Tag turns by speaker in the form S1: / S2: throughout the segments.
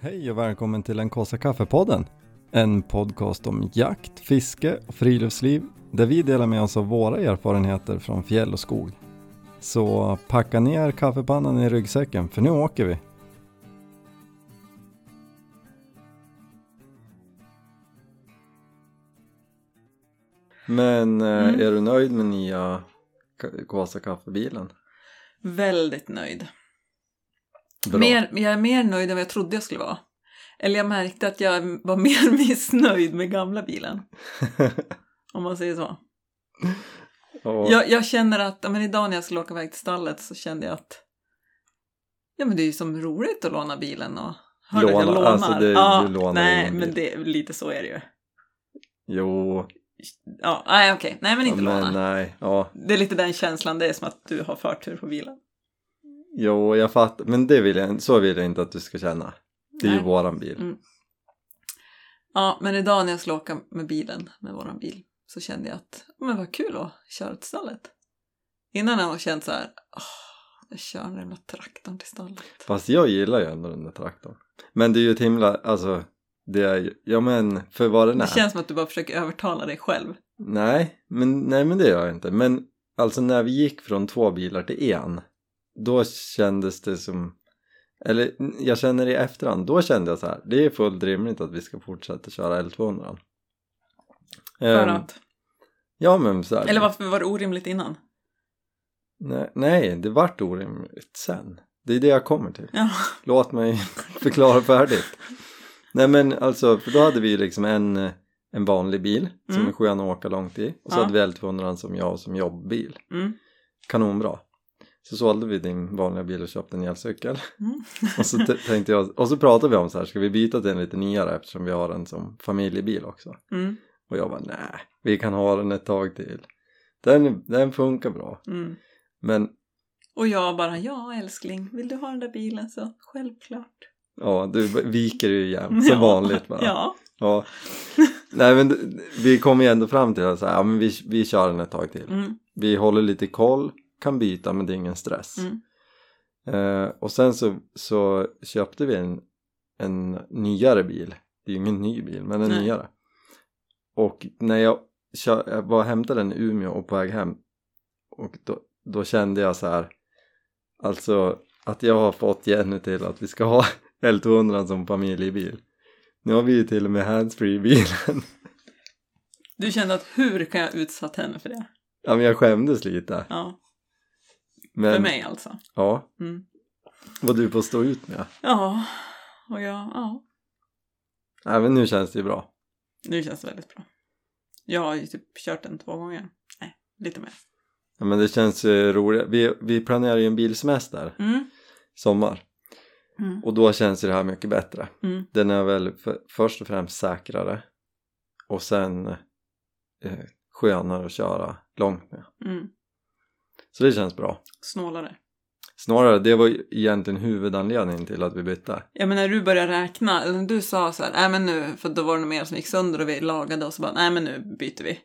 S1: Hej och välkommen till den kaffe kaffepodden. En podcast om jakt, fiske och friluftsliv där vi delar med oss av våra erfarenheter från fjäll och skog. Så packa ner kaffepannan i ryggsäcken för nu åker vi. Men eh,
S2: Mm.
S1: är du nöjd med nya Ka- Kawasaki kaffebilen?
S2: Väldigt nöjd.
S1: Bra.
S2: Mer, jag är mer nöjd än vad jag trodde jag skulle vara. Eller jag märkte att jag var mer missnöjd med gamla bilen. Om man säger så.
S1: Och-
S2: Jag, jag känner att, ja, men idag när jag skulle åka iväg till stallet så kände jag att ja men det är ju som roligt att låna bilen och hör du att jag
S1: Låna,
S2: lånar.
S1: alltså det-
S2: ja,
S1: du lånar
S2: nej,
S1: ingen bil.
S2: men det, lite så är det ju.
S1: Jo,
S2: Ja, nej okej, nej men inte
S1: men
S2: låna.
S1: nej. Ja,
S2: Det är lite den känslan, det är som att du har förtur på bilen.
S1: Jo, jag fattar. Men det vill jag, så vill jag inte att du ska känna. Det är ju
S2: Nej.
S1: våran bil.
S2: Mm. Ja, men idag när jag skulle åka med bilen, med våran bil, så kände jag att, men vad kul att köra till stallet. Innan har jag känt så här, "Åh, jag kör den jävla traktorn till stallet.
S1: Fast jag gillar ju ändå den där traktorn. Men det är ju ett himla, alltså, det är ju, ja men för vad den är.
S2: Det känns som att du bara försöker övertala dig
S1: Ehm,
S2: själv.
S1: Nej, men, nej men det gör jag inte. Men alltså när vi gick från två bilar till en, då kändes det som, eller mm, jag känner i efterhand, då kände jag så här, det är fullt rimligt att vi ska fortsätta köra L200.
S2: För
S1: Ehm,
S2: att,
S1: Ja men så här,
S2: eller varför var det orimligt innan?
S1: nej, nej, det vart orimligt sen. Det är det jag kommer till.
S2: Ja,
S1: Låt mig förklara färdigt. Nej men alltså, för då hade vi ju liksom en, en vanlig bil som
S2: Mm.
S1: är skön att åka långt i och så
S2: Ja.
S1: hade vi L200 som jag har som jobbbil.
S2: mm.
S1: Kanonbra. Så sålde vi din vanliga bil och köpte en elcykel.
S2: Mm.
S1: Och så t- tänkte jag, och så pratade vi om så här, ska vi byta till en lite nyare eftersom vi har en som familjebil också?
S2: Mm.
S1: Och jag bara, nej, vi kan ha den ett tag till. Den, den funkar bra.
S2: Mm.
S1: Men
S2: Och jag bara, ja älskling, vill du ha den där bilen så självklart.
S1: ja, du viker ju igen som
S2: Ja.
S1: vanligt bara.
S2: Ja,
S1: Ja. Nej men vi kommer ju ändå fram till att så här, ja, men vi, vi kör den ett tag till.
S2: mm.
S1: Vi håller lite koll, kan byta men det är ingen stress.
S2: Mm.
S1: Eh, och sen så, så köpte vi en, en nyare bil. Det är ju ingen ny bil men en
S2: Nej.
S1: nyare. Och när jag, kö- jag var och hämtade den i Umeå och på väg hem och då, då kände jag så här alltså att jag har fått Jenny till att vi ska ha L200 som familjebil. Nu har vi ju till och med handsfree i bilen.
S2: du kände att hur kan jag utsatt henne för det?
S1: Ja men jag skämdes lite.
S2: Ja,
S1: Men,
S2: för mig alltså.
S1: Ja,
S2: Mm.
S1: vad du får stå ut med.
S2: Ja, och jag, ja,
S1: Nej men nu känns det ju bra.
S2: nu känns det väldigt bra. Jag har ju typ kört den två gånger. Nej, lite mer.
S1: Ja, men det känns eh, roligt. Vi, vi planerar ju en bilsemester
S2: Mm.
S1: sommar
S2: Mm.
S1: och då känns ju det här mycket bättre.
S2: Mm.
S1: Den är väl för, först och främst säkrare och sen eh, skönare att köra långt med.
S2: Mm.
S1: Så det känns bra.
S2: Snålare.
S1: Snarare, det var ju egentligen huvudanledningen till att vi bytte.
S2: Ja men när du började räkna, eller när du sa så här, nej men nu, för då var det nog mer som gick sönder och vi lagade och så bara, nej men nu byter vi.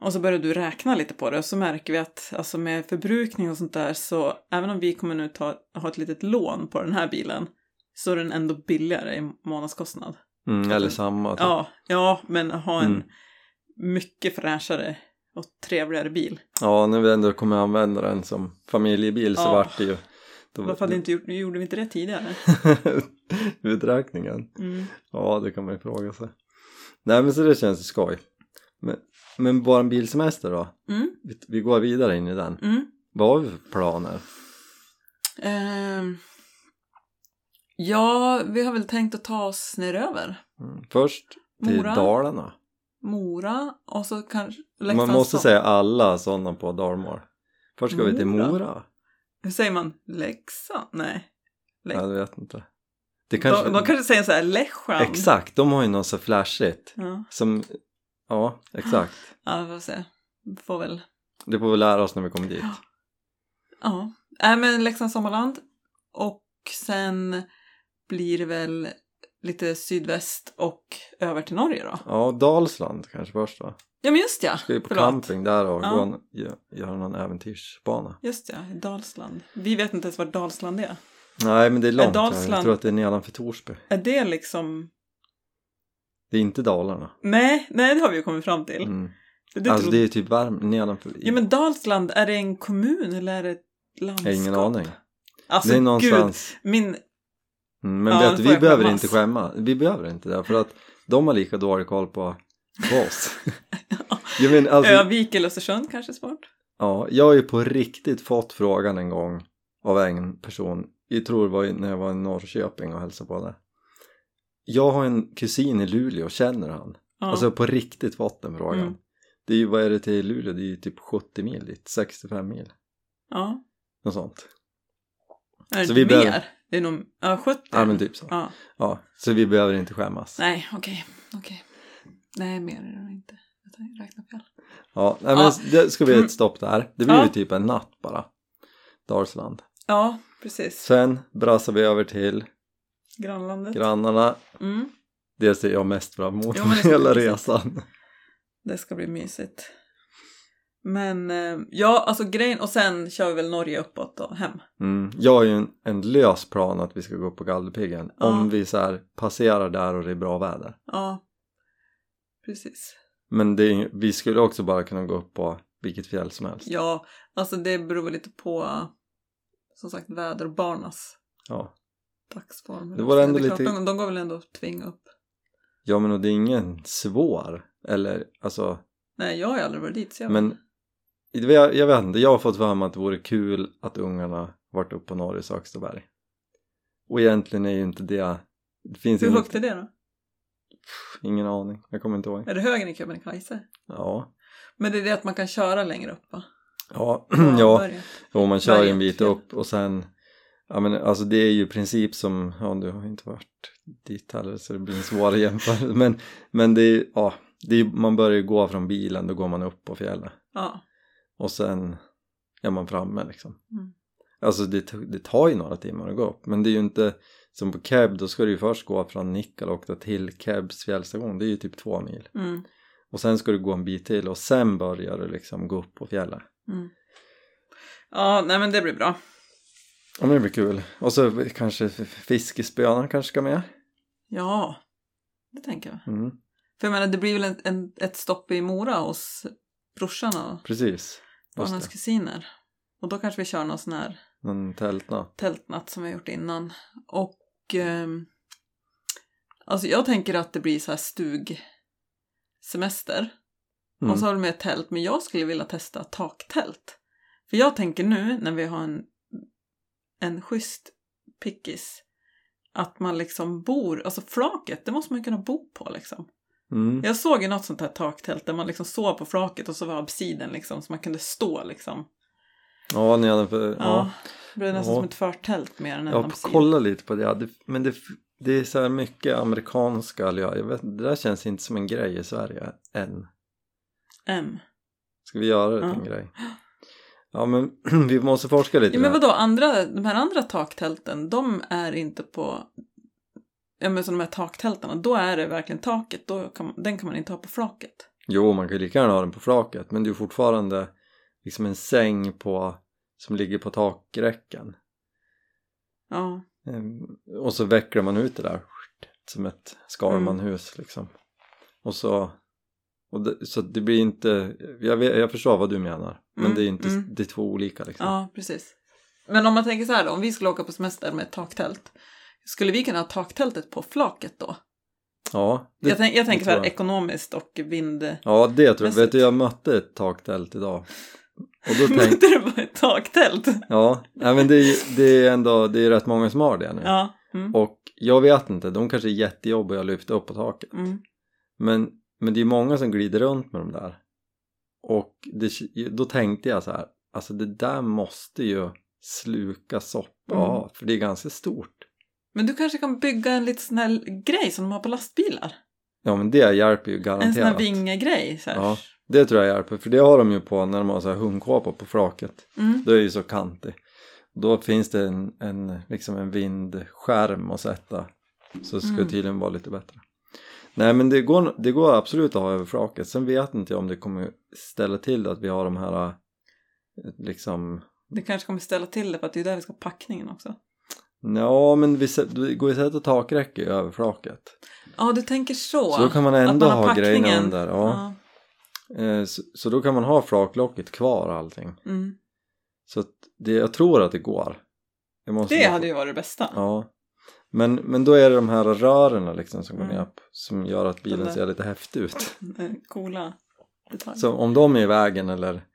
S2: Och så började du räkna lite på det och så märker vi att alltså med förbrukning och sånt där så även om vi kommer nu ta, ha ett litet lån på den här bilen så är den ändå billigare i månadskostnad.
S1: Mm, eller samma. typ.
S2: Ja, ja, men ha en
S1: Mm.
S2: mycket fräschare och trevligare bil.
S1: ja, när vi ändå kommer använda den som familjebil så
S2: Ja.
S1: vart det ju... Då,
S2: Varför hade inte gjort, gjorde vi inte det tidigare?
S1: Uträkningen.
S2: Mm.
S1: Ja, det kan man ju fråga sig. Nej, men så det känns ju skoj. Men, men bara en bilsemester då?
S2: Mm.
S1: Vi, vi går vidare in i den.
S2: Mm.
S1: Vad har vi för planer?
S2: Ehm. ja, vi har väl tänkt att ta oss neröver.
S1: Mm. Först till
S2: Mora.
S1: Dalarna.
S2: Mora och så kanske...
S1: Man
S2: Leksands-
S1: måste säga alla sådana på dalmål. Först ska vi till
S2: Mora?
S1: Mora.
S2: Hur säger man? Leksand? Nej.
S1: Nej.
S2: Nej.
S1: Jag vet inte. Det kanske...
S2: De, de kanske säger så här Leksand.
S1: Exakt, de har ju något så flashigt.
S2: Ja,
S1: Som... Ja, exakt.
S2: ja vi får se. Vi Får väl...
S1: Det får vi lära oss när vi kommer dit.
S2: Ja. Ja. Nej, men Leksand Sommarland. Och sen blir det väl lite sydväst och över till Norge då.
S1: Ja, Dalsland kanske först va?
S2: Ja, men just ja.
S1: Ska ju på
S2: Förlåt.
S1: camping där och
S2: Ja.
S1: gå en, gö- göra någon äventyrsbana.
S2: Just ja, Dalsland. Vi vet inte ens var Dalsland är.
S1: Nej, men det är långt. Jag
S2: Dalsland-
S1: tror att det är nedanför Torsby.
S2: Är det liksom...
S1: Det är inte Dalarna.
S2: Nej, nej det har vi ju kommit fram till.
S1: Mm.
S2: Det, det
S1: alltså
S2: trodde...
S1: det är typ Värmland, nedanför.
S2: Ja men Dalsland, är det en kommun eller är det ett landskap?
S1: jag har ingen aning.
S2: Alltså
S1: det är
S2: gud,
S1: någonstans.
S2: min...
S1: Mm, men
S2: Ja,
S1: vet
S2: nu
S1: du,
S2: får
S1: vi
S2: jag
S1: behöver
S2: skämmas.
S1: inte skämma. Vi behöver inte det. För att de har lika dålig koll på, på oss. jag men, alltså,
S2: Övik eller Östersund kanske är svårt.
S1: Ja, jag har ju på riktigt fått frågan en gång av en person. Jag tror det var när jag var i Norrköping och hälsade på där. Jag har en kusin i Luleå, känner han?
S2: Ja.
S1: Alltså på riktigt fått den frågan.
S2: Mm.
S1: Det är ju, vad är det till Luleå? Det är ju typ 70 mil dit, 65 mil.
S2: ja.
S1: Något sånt.
S2: Är det
S1: Så
S2: inte
S1: vi
S2: mer?
S1: behöver-
S2: Det är nog... Ja, 70?
S1: Ja men typ så.
S2: Ja.
S1: Ja, så vi behöver inte skämmas.
S2: Nej, okej. Okej. Nej, mer är det nog inte. Vänta, Jag räknar fel.
S1: Ja, nej, men
S2: Ja. Mm.
S1: det ska bli ett stopp där. Det blir
S2: Ja.
S1: ju typ en natt bara. Dalsland.
S2: Ja, precis.
S1: Sen brassar vi över till
S2: Grannlandet.
S1: grannarna.
S2: Mm.
S1: Det ser jag mest fram emot
S2: Jo,
S1: med
S2: men det ska
S1: hela
S2: bli mysigt.
S1: resan.
S2: Det ska bli mysigt. Men eh, ja, alltså grejen och sen kör vi väl Norge uppåt och hem.
S1: Mm. Jag har ju en, en lös plan att vi ska gå på Gallepiggen
S2: Ja.
S1: om vi så här passerar där och det är bra väder.
S2: Ja, precis.
S1: Men det är, ju- vi skulle också bara kunna gå upp på vilket fjäll som helst.
S2: Ja, alltså det beror väl lite på eh, som sagt väder och barnas
S1: Ja,
S2: dagsform.
S1: Det var ändå
S2: är klart,
S1: lite-
S2: De, de går väl ändå att tvinga upp.
S1: ja men och det är ingen svår eller alltså
S2: Nej, jag har ju aldrig varit dit så jag
S1: men det- jag, jag vet inte, jag har fått för mig att det vore kul att ungarna varit upp på Norges högsta berg. Och egentligen är ju inte det, det finns
S2: Hur
S1: ingen,
S2: högt är det då?
S1: ingen aning, jag kommer inte ihåg.
S2: Är det högre än i Kebnekaise?
S1: Ja,
S2: Men det är det att man kan köra längre upp va?
S1: ja,
S2: På
S1: ja.
S2: Börje.
S1: Och man kör ju en
S2: Berget,
S1: bit
S2: ja.
S1: upp och sen Ja men alltså det är ju i princip som, ja du har ju inte varit dit heller så det blir en svår jämförelse men, men det är, ja, det är, man börjar ju gå från bilen, då går man upp på fjället
S2: Ja,
S1: och sen är man framme liksom.
S2: Mm.
S1: Alltså det, t- det tar ju några timmar att gå upp men det är ju inte som på Keb, då ska du ju först gå från Nikkaluokta till Kebs fjällstation, det är ju typ två mil
S2: mm,
S1: och sen ska du gå en bit till och sen börjar du liksom gå upp på fjället.
S2: mm. Ja, nej men det blir bra.
S1: Ja men det blir kul. Och så kanske fiskespöna kanske ska med.
S2: Ja, det tänker jag.
S1: Mm,
S2: För jag menar, det blir väl en, en, ett stopp i Mora hos brorsan och
S1: precis. Just
S2: barnens
S1: det.
S2: kusiner. Och då kanske vi kör någon sån här
S1: Någon tältnatt.
S2: tältnatt som vi har gjort innan. Och ehm, alltså jag tänker att det blir så här stugsemester.
S1: Mm.
S2: Och så har vi med tält, men jag skulle vilja testa taktält. För jag tänker nu när vi har en, en schysst pickis att man liksom bor, alltså flaket, det måste man ju kunna bo på liksom.
S1: Mm.
S2: Jag såg ju något sånt här taktält där man liksom sov på flaket och så var absiden liksom så man kunde stå liksom.
S1: Ja, nedanför.
S2: Ja.
S1: Ja.
S2: Det blev nästan
S1: Ja.
S2: som ett förtält mer än en
S1: Jag har
S2: absid.
S1: kollat lite på det. Ja, det men det, det är så här mycket amerikanska. eller Jag jag vet, det där känns inte som en grej i Sverige än.
S2: Mm.
S1: Ska vi göra det till
S2: Ja.
S1: en grej? Ja men vi måste forska lite.
S2: Ja, men
S1: där.
S2: vadå, andra, de här andra taktälten, de är inte på... Ja men så de här taktältarna, då är det verkligen taket, då kan, man- den kan man inte ha på flaket.
S1: Jo, man kan ju lika gärna ha den på flaket. Men det är ju fortfarande liksom en säng på, som ligger på takräcken.
S2: Ja,
S1: Ehm, Och så vecklar man ut det där som ett skalmanhus
S2: Mm.
S1: liksom. Och så, och det, så det blir inte, jag, vet, jag förstår vad du menar, men
S2: Mm,
S1: det är inte,
S2: mm.
S1: det är två olika liksom.
S2: ja precis. Men om man tänker så här då, om vi skulle åka på semester med ett taktält, skulle vi kunna ha taktältet på flaket då?
S1: Ja, det,
S2: jag, tänk, jag tänker så här
S1: tror jag.
S2: ekonomiskt och vind...
S1: ja, det tror jag.
S2: Mässigt.
S1: Vet du, jag mötte ett taktält idag. Och då
S2: Men
S1: tänkte
S2: det var ett taktält!
S1: ja, nej, men det är, ju- det är ändå, det är rätt många som har det nu.
S2: Ja. Mm.
S1: Och jag vet inte, de kanske är jättejobbiga att lyfta upp på taket.
S2: Mm.
S1: Men, men det är många som glider runt med de där. Och det, då tänkte jag så här, alltså det där måste ju sluka soppa
S2: Mm.
S1: av, för det är ganska stort.
S2: Men du kanske kan bygga en liten sån här grej som de har på lastbilar?
S1: Ja men det hjälper ju
S2: En sån här
S1: garanterat.
S2: vingegrej så här.
S1: Ja. Det tror jag hjälper, för det har de ju på när de har så här hundkåpor på flaket.
S2: Mm.
S1: Då är det ju så kantig. Då finns det en, en, liksom en vindskärm att sätta. Så det ska
S2: Mm.
S1: tydligen vara lite bättre. Nej men det går, det går absolut att ha över flaket. Sen vet inte jag om det kommer ställa till att vi har de här liksom, eh, liksom
S2: Det kanske kommer ställa till det för att det är där vi ska ha packningen också.
S1: Ja, men vi, sä- det går ju att sätta takräcke över flaket.
S2: Ja, du tänker så.
S1: Så då kan man
S2: Att
S1: ändå
S2: har
S1: ha grejerna
S2: packningen.
S1: under. Ja.
S2: Ja.
S1: Eh, Så, så då kan man ha flaklocket kvar och allting.
S2: Mm.
S1: Så att det, jag tror att det går. Jag måste
S2: Det
S1: bara-
S2: hade ju varit det bästa.
S1: Ja. Men, men då är det de här rören liksom som går
S2: Mm.
S1: ner upp som gör att
S2: Den
S1: bilen
S2: där. Mm.
S1: ser lite häftig ut.
S2: Eh, Coola detaljer.
S1: Så om de är i vägen eller...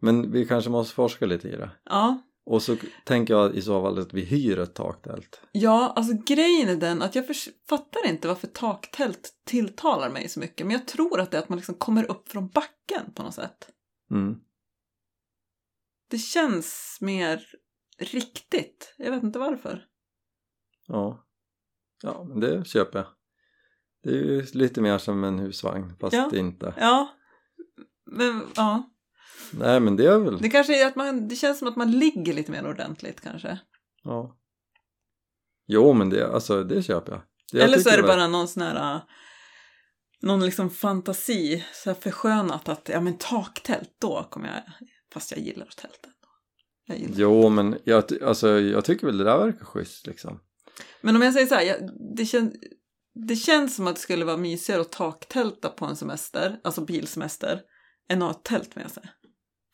S1: Men vi kanske måste forska lite i det.
S2: Ja.
S1: Och så tänker jag i så fall att vi hyr ett taktält.
S2: ja, alltså grejen är den att jag förs- fattar inte varför taktält tilltalar mig så mycket. Men jag tror att det är att man liksom kommer upp från backen på något sätt.
S1: Mm.
S2: Det känns mer riktigt. Jag vet inte varför.
S1: Ja. ja, men det köper jag. Det är ju lite mer som en husvagn fast
S2: Ja.
S1: inte.
S2: Ja. Men, ja.
S1: Nej men det är väl...
S2: Det kanske är att man, det känns som att man ligger lite mer ordentligt kanske.
S1: Ja. Jo men det, alltså, det köper jag. jag
S2: Eller så
S1: tycker
S2: är det bara någon sån här äh, någon liksom fantasi, så här förskönat att ja men taktält, då kommer jag, fast jag gillar tälten. Jag gillar.
S1: Jo men jag, ty- alltså, jag tycker väl det där verkar schysst liksom.
S2: Men om jag säger så här, jag, det, kän, det känns som att det skulle vara mysigare att taktälta på en semester, alltså bilsemester, än att ha ett tält med sig.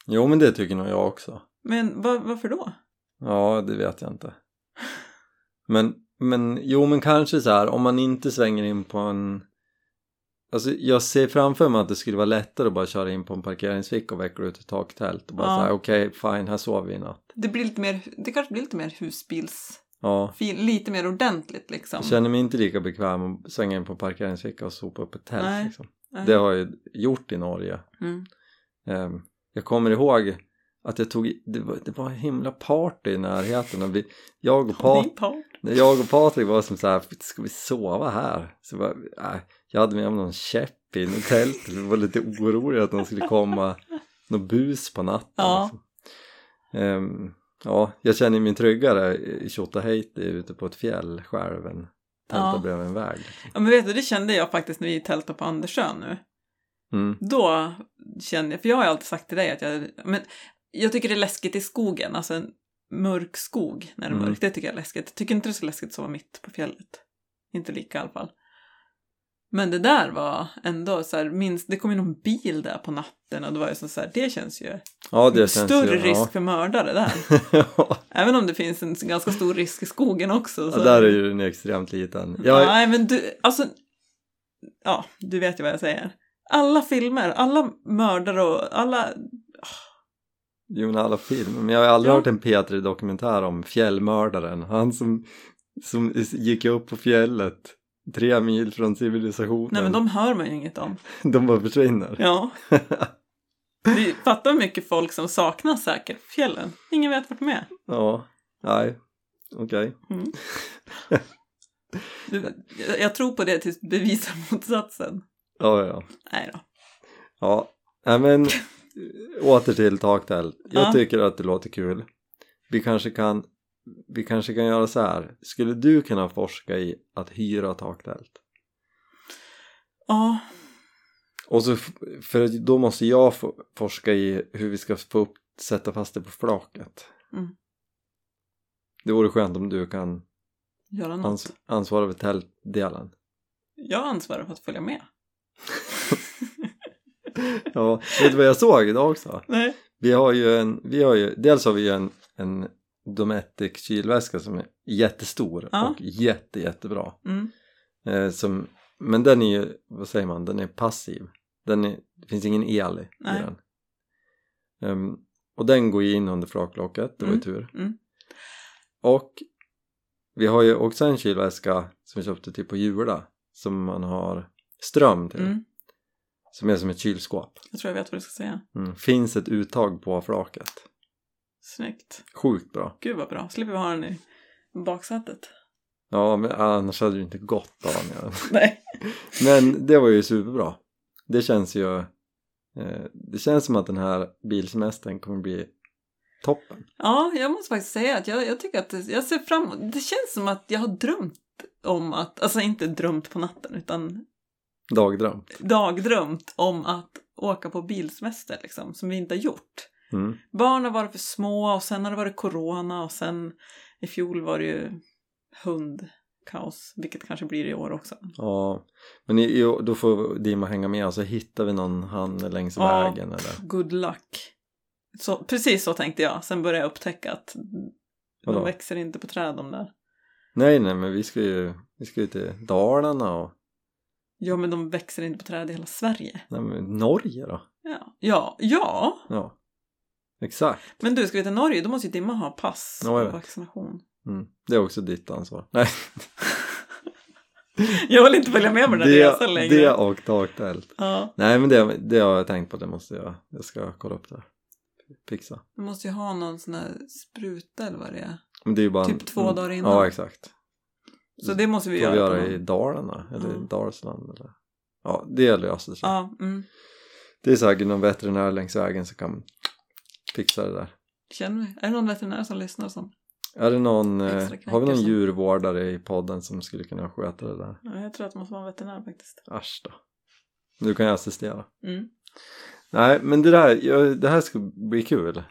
S1: Jo men det tycker nog jag också.
S2: Men va- varför då?
S1: Ja, det vet jag inte. Men, men jo, men kanske så här om man inte svänger in på en... Alltså jag ser framför mig att det skulle vara lättare att bara köra in på en parkeringsficka och veckla ut ett taktält och bara
S2: Ja.
S1: så här okej, fine, här sover vi i natt.
S2: Det, blir lite mer, det kanske blir lite mer husbils...
S1: Ja,
S2: Lite mer ordentligt liksom.
S1: jag känner mig inte lika bekväm att svänga in på en parkeringsficka och sopa upp ett tält
S2: Nej.
S1: liksom.
S2: Nej.
S1: Det har jag ju gjort i Norge.
S2: Mm.
S1: Ehm, Jag kommer ihåg att jag tog, det var, det var en himla party i närheten och vi, jag och Pat
S2: Din part.
S1: När jag och Patrik var som så här, ska vi sova här? Så bara, äh, jag hade med mig någon käpp in i tältet, vi var lite oroliga att någon skulle komma, någon bus på natten.
S2: Ja.
S1: liksom. Ehm, ja, jag känner mig tryggare i Tjotahejti ute på ett fjäll själv än tälta
S2: Ja.
S1: bredvid en väg.
S2: Ja men vet du, det kände jag faktiskt när vi tältade på Andersön nu.
S1: Mm,
S2: Då kände jag, för jag har ju alltid sagt till dig att jag, men jag tycker det är läskigt i skogen, alltså en mörk skog när det är
S1: Mm.
S2: mörkt, det tycker jag är läskigt. Jag tycker inte det är så läskigt att sova mitt på fjället. Inte lika i alla fall. Men det där var ändå så här, minst, det kom ju någon bil där på natten och det var ju som så här, det känns ju
S1: ja, det känns ju-
S2: större risk för mördare där.
S1: Ja.
S2: Även om det finns en ganska stor risk i skogen också.
S1: ja, där är ju den extremt liten. Jag,
S2: Nej, men du, alltså, ja, du vet ju vad jag säger. Alla filmer, alla mördare och alla,
S1: jo, men alla filmer, men jag har aldrig
S2: Ja.
S1: hört en Petri dokumentär om fjällmördaren, han som, som gick upp på fjället. Tre mil från civilisationen.
S2: nej men de hör man ju inget om.
S1: De bara försvinner.
S2: Ja. Vi fattar hur mycket folk som saknas säkert på fjällen. Ingen vet vart de är.
S1: Ja, nej, okej.
S2: Du, jag, jag tror på det tills du bevisar motsatsen.
S1: Ja, ja, ja.
S2: Nej då.
S1: Ja, nej men åter till taktält. Jag
S2: Ja.
S1: tycker att det låter kul. Vi kanske kan vi kanske kan göra så här. Skulle du kunna forska i att hyra taktält?
S2: Ja,
S1: Och så, f- för att då måste jag få, forska i hur vi ska få upp, sätta fast det på flaket.
S2: Mm.
S1: Det vore skönt om du kan
S2: göra något.
S1: ans- ansvara för tältdelen.
S2: Jag ansvarar för att följa med.
S1: Ja, vet du vad jag såg idag också?
S2: Nej.
S1: Vi har ju en, vi har ju, dels har vi ju en, en Dometic kylväska som är jättestor
S2: Ja.
S1: och jätte, jättebra.
S2: Mm.
S1: Eh, som, men den är ju, vad säger man, den är passiv. Den är, det finns ingen el i
S2: Nej.
S1: den. Ehm, och den går ju in under flaklocket, det var ju
S2: Mm,
S1: tur.
S2: mm.
S1: Och vi har ju också en kylväska som vi köpte typ på Jula som man har ström till,
S2: Mm.
S1: som är som ett kylskåp.
S2: Jag tror jag vet vad du ska säga.
S1: Mm. Finns ett uttag på flaket.
S2: Snyggt.
S1: Sjukt bra.
S2: Gud vad bra. Slipper vi ha den i baksätet.
S1: Ja, men annars hade det inte gått av med den.
S2: Nej.
S1: Men det var ju superbra. Det känns ju... Eh, det känns som att den här bilsemestern kommer bli toppen.
S2: Ja, jag måste faktiskt säga att jag, jag tycker att det, jag ser fram emot, det känns som att jag har drömt om att, alltså inte drömt på natten utan
S1: Dagdröm.
S2: dagdrömt om att åka på bilsemester liksom, som vi inte har gjort.
S1: Mm.
S2: Barn har varit för små och sen har det varit corona och sen i fjol var det ju hundkaos, vilket kanske blir i år också.
S1: Ja, men i, i, då får Dima hänga med. Alltså hittar vi någon handel längs
S2: Ja.
S1: vägen eller?
S2: Good luck. Så, precis så tänkte jag. Sen började jag upptäcka att
S1: Vadå?
S2: de växer inte på träd de där.
S1: Nej, nej, men vi ska ju, vi ska ju till Dalarna och
S2: Ja, men de växer inte på träd i hela Sverige.
S1: nej, men Norge då.
S2: Ja, ja, ja.
S1: Ja, exakt.
S2: Men du, ska vi till Norge, då måste ju Dimma ha pass
S1: Ja, jag
S2: och
S1: vet.
S2: vaccination.
S1: Mm. Det är också ditt ansvar. Nej,
S2: Jag vill inte följa med på den här
S1: det,
S2: resan längre.
S1: det och taktält.
S2: Ja,
S1: Nej, men det, det har jag tänkt på. Det måste jag. Jag ska kolla upp det. här. Fixa.
S2: du måste ju ha någon sån här spruta eller vad det är.
S1: Men det är ju bara mm.
S2: Typ två dagar innan.
S1: Ja, exakt.
S2: Så det måste vi
S1: Får
S2: göra.
S1: vi
S2: på
S1: göra
S2: någon-
S1: i Dalarna eller
S2: Ja.
S1: i Dalsland eller? Ja, det löser sig.
S2: Ja, mm.
S1: Det är säkert någon veterinär längs vägen som kan fixa det där.
S2: Känner vi. Är det någon veterinär som lyssnar som?
S1: Är det någon, eh,
S2: Extra knäcker
S1: har vi någon
S2: som-
S1: djurvårdare i podden som skulle kunna sköta det där?
S2: Ja, jag tror att det måste vara en veterinär faktiskt.
S1: Asch då. Nu kan jag assistera.
S2: Mm.
S1: Nej, men det där, jag, det här ska bli kul.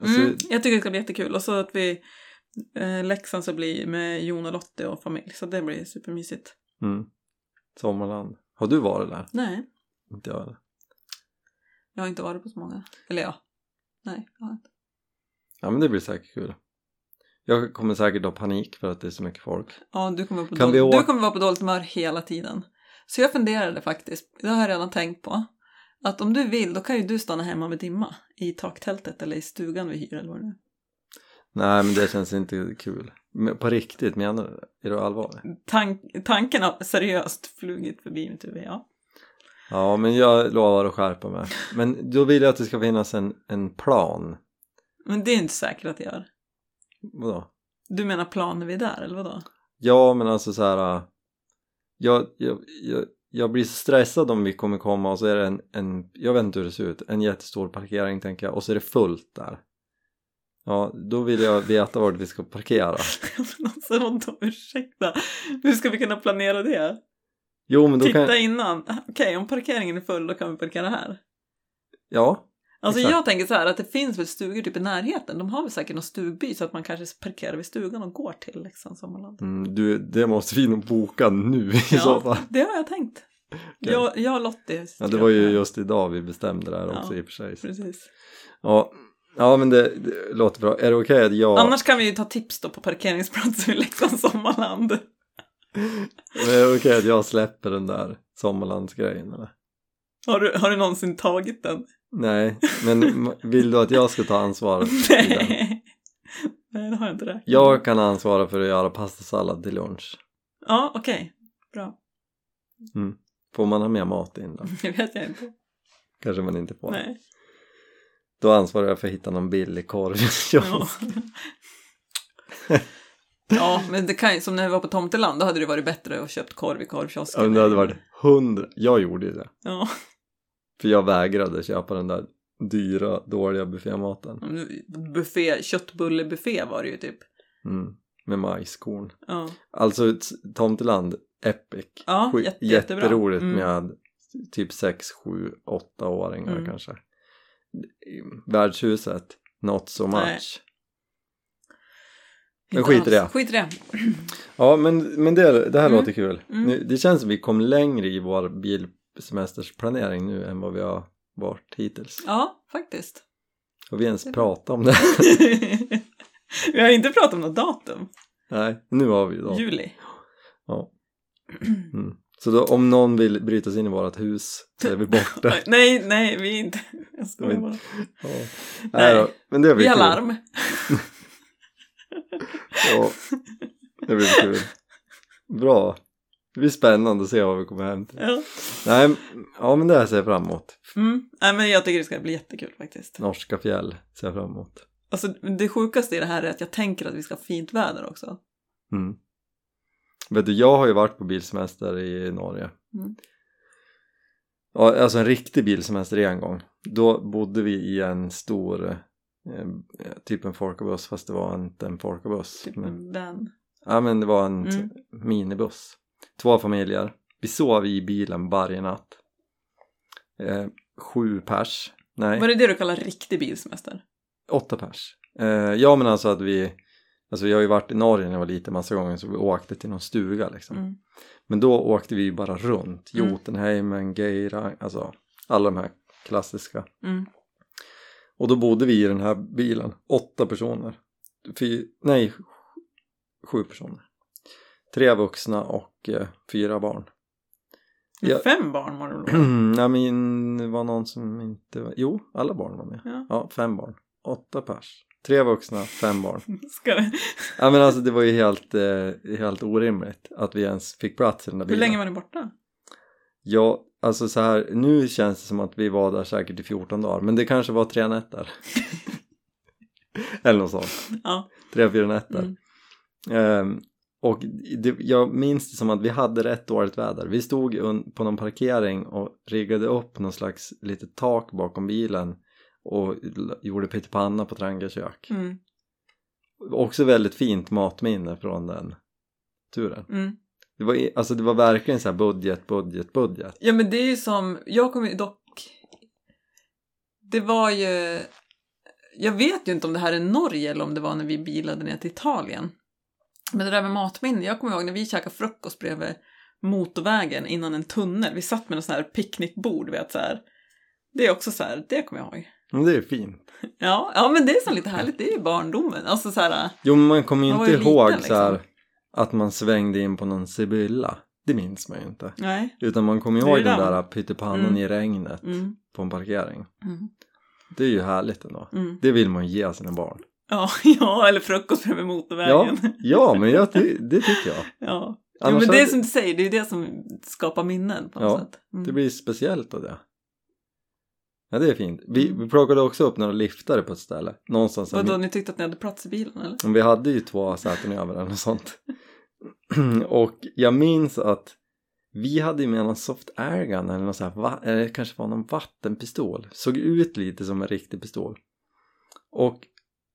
S1: Alltså,
S2: Mm, jag tycker det ska bli jättekul. Och så att vi eh, Leksand så blir med Jon och Lottie och familj. Så det blir supermysigt.
S1: mm. Sommarland. Har du varit där?
S2: Nej,
S1: Inte jag. eller?
S2: jag har inte varit på så många. Eller ja. Nej, jag har inte.
S1: Ja, men det blir säkert kul. Jag kommer säkert ha panik för att det är så mycket folk.
S2: Ja, du kommer, vara på
S1: Kan
S2: dål-
S1: vi åka-
S2: du kommer vara på dåligt humör hela tiden. Så jag funderade faktiskt, det har jag redan tänkt på, att om du vill då kan ju du stanna hemma med Dimma i taktältet eller i stugan vi hyr eller vad det nu är.
S1: Nej, men det känns inte kul. Men på riktigt, menar du det? Är du allvarlig?
S2: Tank- tanken har seriöst flugit förbi mitt huvud, ja.
S1: Ja, men jag lovar att skärpa mig. Men då vill jag att det ska finnas en, en plan.
S2: Men det är inte säkert att det gör.
S1: Vadå?
S2: Du menar planer vi är där, eller vadå?
S1: Ja, men alltså så här. äh, Jag, jag, jag, jag blir så stressad om vi kommer komma och så är det en, en, jag vet inte hur det ser ut, en jättestor parkering tänker jag och så är det fullt där. Ja, då vill jag veta vart vi ska parkera.
S2: Men alltså, vadå, ursäkta. Hur ska vi kunna planera det?
S1: Jo, men då
S2: Titta
S1: kan
S2: innan. Ah, Okej, om parkeringen är full då kan vi parkera här.
S1: Ja,
S2: Alltså
S1: Exakt.
S2: jag tänker så här att det finns väl stugor typ i närheten. De har väl säkert någon stugby så att man kanske parkerar vid stugan och går till Leksands sommarland.
S1: mm, du, det måste vi nog boka nu i så fall.
S2: det har jag tänkt. Jag, jag och Lottie.
S1: Ja, det var ju just idag vi bestämde det här också
S2: Ja,
S1: i och för sig. så-
S2: Precis.
S1: Ja, ja men det, det låter bra. Är det okej att jag...
S2: Annars kan vi ju ta tips då på parkeringsplatser i Leksands sommarland.
S1: Men är det okej att jag släpper den där sommarlandsgrejen eller?
S2: Har du, har du någonsin tagit den?
S1: Nej, men m- vill du att jag ska ta ansvaret? i den?
S2: Nej. Nej, det har jag inte räknat
S1: Jag kan ansvara för att göra pastasallad till lunch.
S2: Ja, okej. Bra.
S1: Får man ha med mat in då?
S2: Det vet jag inte.
S1: Kanske man inte får.
S2: Nej.
S1: Då ansvarar jag för att hitta någon billig korv. ja.
S2: Ja. ja, men det kan ju, som när vi var på Tomteland, då hade det varit bättre att köpt korv i korvkiosken.
S1: Om det hade varit hundra. Jag gjorde ju det.
S2: Ja,
S1: För jag vägrade köpa den där dyra, dåliga buffématen.
S2: men buffé, köttbullebuffé var det ju typ.
S1: Mm. Med majskorn.
S2: Ja,
S1: Alltså t- Tomteland, epic.
S2: Ja,
S1: Sju-
S2: jätte- jättebra.
S1: jätteroligt
S2: Mm.
S1: med typ 6, 7, 8 åringar
S2: Mm.
S1: kanske. Värdshuset, not so much.
S2: Nej.
S1: Men
S2: inte
S1: skit i det.
S2: alls. Skit i det.
S1: Ja, men, men det, det här
S2: Mm.
S1: låter kul.
S2: Mm.
S1: Nu, det känns som vi kom längre i vår bilsemestersplanering nu än vad vi har varit hittills.
S2: Ja, faktiskt.
S1: Har vi ens
S2: Det är bra.
S1: pratat om det?
S2: vi har inte pratat om något datum.
S1: Nej, nu har vi då.
S2: Juli.
S1: Ja. Mm. Så då, om någon vill bryta sig in i vårt hus så är vi borta.
S2: Oj, Nej, nej, vi är inte... Jag skojar
S1: Men-
S2: bara.
S1: Ja.
S2: Nej.
S1: Nej. då, men det blir
S2: Vi har
S1: kul.
S2: larm.
S1: Ja, det blir kul. Bra. Det blir spännande att se vad vi kommer hem till.
S2: Ja.
S1: Nej, ja men det här ser jag fram emot.
S2: Mm. Nej, men jag tycker det ska bli jättekul faktiskt.
S1: Norska fjäll ser jag fram emot.
S2: Alltså, det sjukaste i det här är att jag tänker att vi ska ha fint väder också.
S1: Mm. Vet du, jag har ju varit på bilsemester i Norge.
S2: Mm.
S1: Ja, alltså en riktig bilsemester en gång. Då bodde vi i en stor, eh, typ en folkabuss fast det var inte en folkabuss.
S2: Typ
S1: men-
S2: en van.
S1: Ja men det var en
S2: Mm.
S1: t- minibuss. Två familjer. Vi sov i bilen varje natt. Eh, sju pers. Nej,
S2: Var det det du kallar riktig bilsemester?
S1: åtta pers. Eh, ja men alltså att vi Alltså jag har ju varit i Norge när jag var liten massa gånger så vi åkte till någon stuga liksom.
S2: Mm.
S1: Men då åkte vi ju bara runt,
S2: Mm.
S1: Jotunheimen, Geira, alltså alla de här klassiska.
S2: Mm.
S1: Och då bodde vi i den här bilen, åtta personer. Fy, nej, sju personer. Tre vuxna och eh, fyra barn.
S2: Men
S1: Ja.
S2: Fem barn var det väl? då?
S1: Nej men det var någon som inte var... Jo, alla barn var med.
S2: Ja.
S1: Ja, fem barn. Åtta pers. Tre vuxna, fem barn.
S2: Ska det...
S1: Ja men alltså det var ju helt, eh, helt orimligt att vi ens fick plats i den där
S2: Hur
S1: bilen.
S2: länge var ni borta?
S1: Ja, alltså så här, nu känns det som att vi var där säkert i 14 dagar, men det kanske var tre nätter. Eller något sånt.
S2: Ja.
S1: Tre, fyra nätter.
S2: Mm.
S1: Ehm, och det, jag minns det som att vi hade rätt dåligt väder. Vi stod un, på någon parkering och riggade upp någon slags litet tak bakom bilen och l- gjorde pyttipanna på Tranga kök.
S2: Mm.
S1: Också väldigt fint matminne från den turen.
S2: Mm.
S1: Det var, i- alltså det var verkligen så här budget, budget, budget.
S2: Ja men det är ju som, jag kommer ju dock... Det var ju... Jag vet ju inte om det här är Norge eller om det var när vi bilade ner till Italien. Men det där med matminne, jag kommer ihåg när vi käkade frukost bredvid motorvägen innan en tunnel. Vi satt med en sån här picknickbord, vet så här. Det är också så här, det kommer jag ihåg.
S1: Men det är fint.
S2: Ja, ja men det är så lite härligt, det är ju barndomen. Alltså så här,
S1: Jo men man kommer ju
S2: Man
S1: inte
S2: var ju
S1: ihåg
S2: liten, liksom.
S1: så här, att man svängde in på någon Sibylla. Det minns man ju inte.
S2: nej.
S1: Utan man kommer ju
S2: Det är
S1: ihåg
S2: ju
S1: den
S2: den.
S1: där pyttipannan
S2: Mm.
S1: i regnet
S2: Mm,
S1: på en parkering.
S2: mm,
S1: Det är ju härligt ändå.
S2: mm.
S1: Det vill man ju ge sina barn.
S2: Ja, ja, eller frukost bredvid
S1: Ja,
S2: motorvägen.
S1: ja men jag, ty- det tycker jag.
S2: ja. Jo,
S1: Annars
S2: men det är
S1: hade-
S2: som du säger, det är ju det som skapar minnen på något
S1: Ja,
S2: sätt. Mm.
S1: det blir speciellt av det. Ja det är fint. Vi,
S2: Mm.
S1: vi plockade också upp några liftare på ett ställe. Någonstans.
S2: Vadå, ni tyckte att ni hade plats i bilen eller?
S1: Men Vi hade ju två säten över den och sånt. och jag minns att vi hade ju med någon soft airgun eller någon sån här, va- eller det kanske var någon vattenpistol. Såg ut lite som en riktig pistol. Och,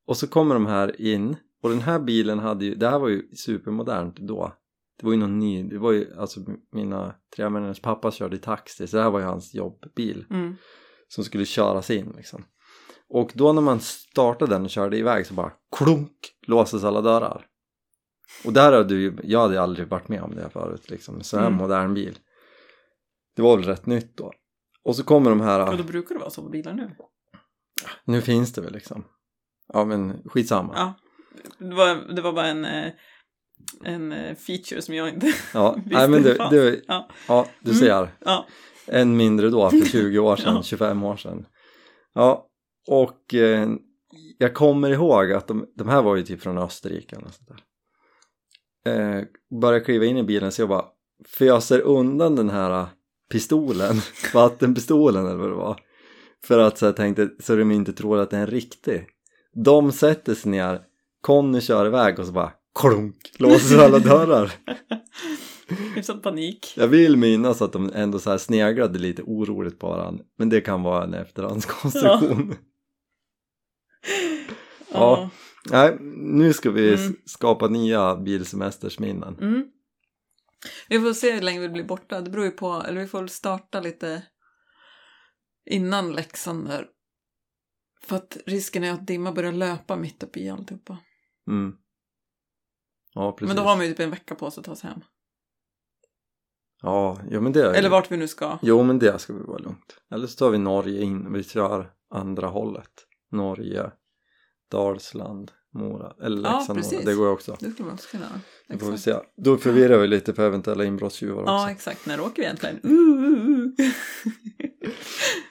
S1: och så kommer de här in och den här bilen hade ju, det här var ju supermodernt då. Det var ju någon ny, det var ju alltså mina tre vänners pappa körde taxi så det här var ju hans jobbbil
S2: Mm.
S1: som skulle köras in liksom. Och då när man startade den och körde iväg så bara klunk låses alla dörrar. Och där hade ju, jag hade aldrig varit med om det förut liksom, så här
S2: Mm.
S1: modern bil. Det var väl rätt nytt då. Och så kommer de
S2: Och
S1: här,
S2: då brukar det vara så på bilar nu.
S1: nu finns det väl liksom. Ja men skitsamma.
S2: Ja. Det var, det var bara en, eh, en eh, feature som jag inte...
S1: Ja,
S2: Visst,
S1: nej, men
S2: det
S1: du,
S2: fanns.
S1: du,
S2: Ja.
S1: ja, du
S2: Mm.
S1: ser.
S2: Ja.
S1: Än mindre då, för 20 år sedan,
S2: Ja.
S1: 25 år sedan. Ja, och eh, jag kommer ihåg att de, de här var ju typ från Österrike eller något sånt där. Eh, började kliva in i bilen så jag bara föser undan den här eh, pistolen, vattenpistolen eller vad det var. För att så jag tänkte, så de inte tror att det är en riktig. De sätter sig ner, Conny kör iväg och så bara klunk, låser alla dörrar.
S2: Hyfsad panik.
S1: Jag vill minnas att de ändå så här sneglade lite oroligt på varandra. Men det kan vara en efterhandskonstruktion. Ja. Nej, nu ska vi
S2: Mm.
S1: s- skapa nya bilsemestersminnen.
S2: Mm. Vi får se hur länge vi blir borta. Det beror ju på, eller vi får väl starta lite innan Leksand där. För att risken är att dimma börjar löpa mitt uppe i alltihopa.
S1: Mm. Ja, precis.
S2: Men då har man ju typ en vecka på sig att ta sig hem.
S1: Ja, jo, men det...
S2: Eller vart vi nu ska.
S1: Jo, men det ska vi vara lugnt. Eller så tar vi Norge in. Vi kör andra hållet. Norge, Dalsland, Mora. Eller
S2: Ja,
S1: Leksand, Mora.
S2: precis.
S1: Det går ju också.
S2: Det skulle man också kunna.
S1: Det får vi
S2: Exakt.
S1: se. Då förvirrar vi lite för eventuella inbrottstjuvar också.
S2: Ja, exakt. När åker vi egentligen? Uh, uh, uh.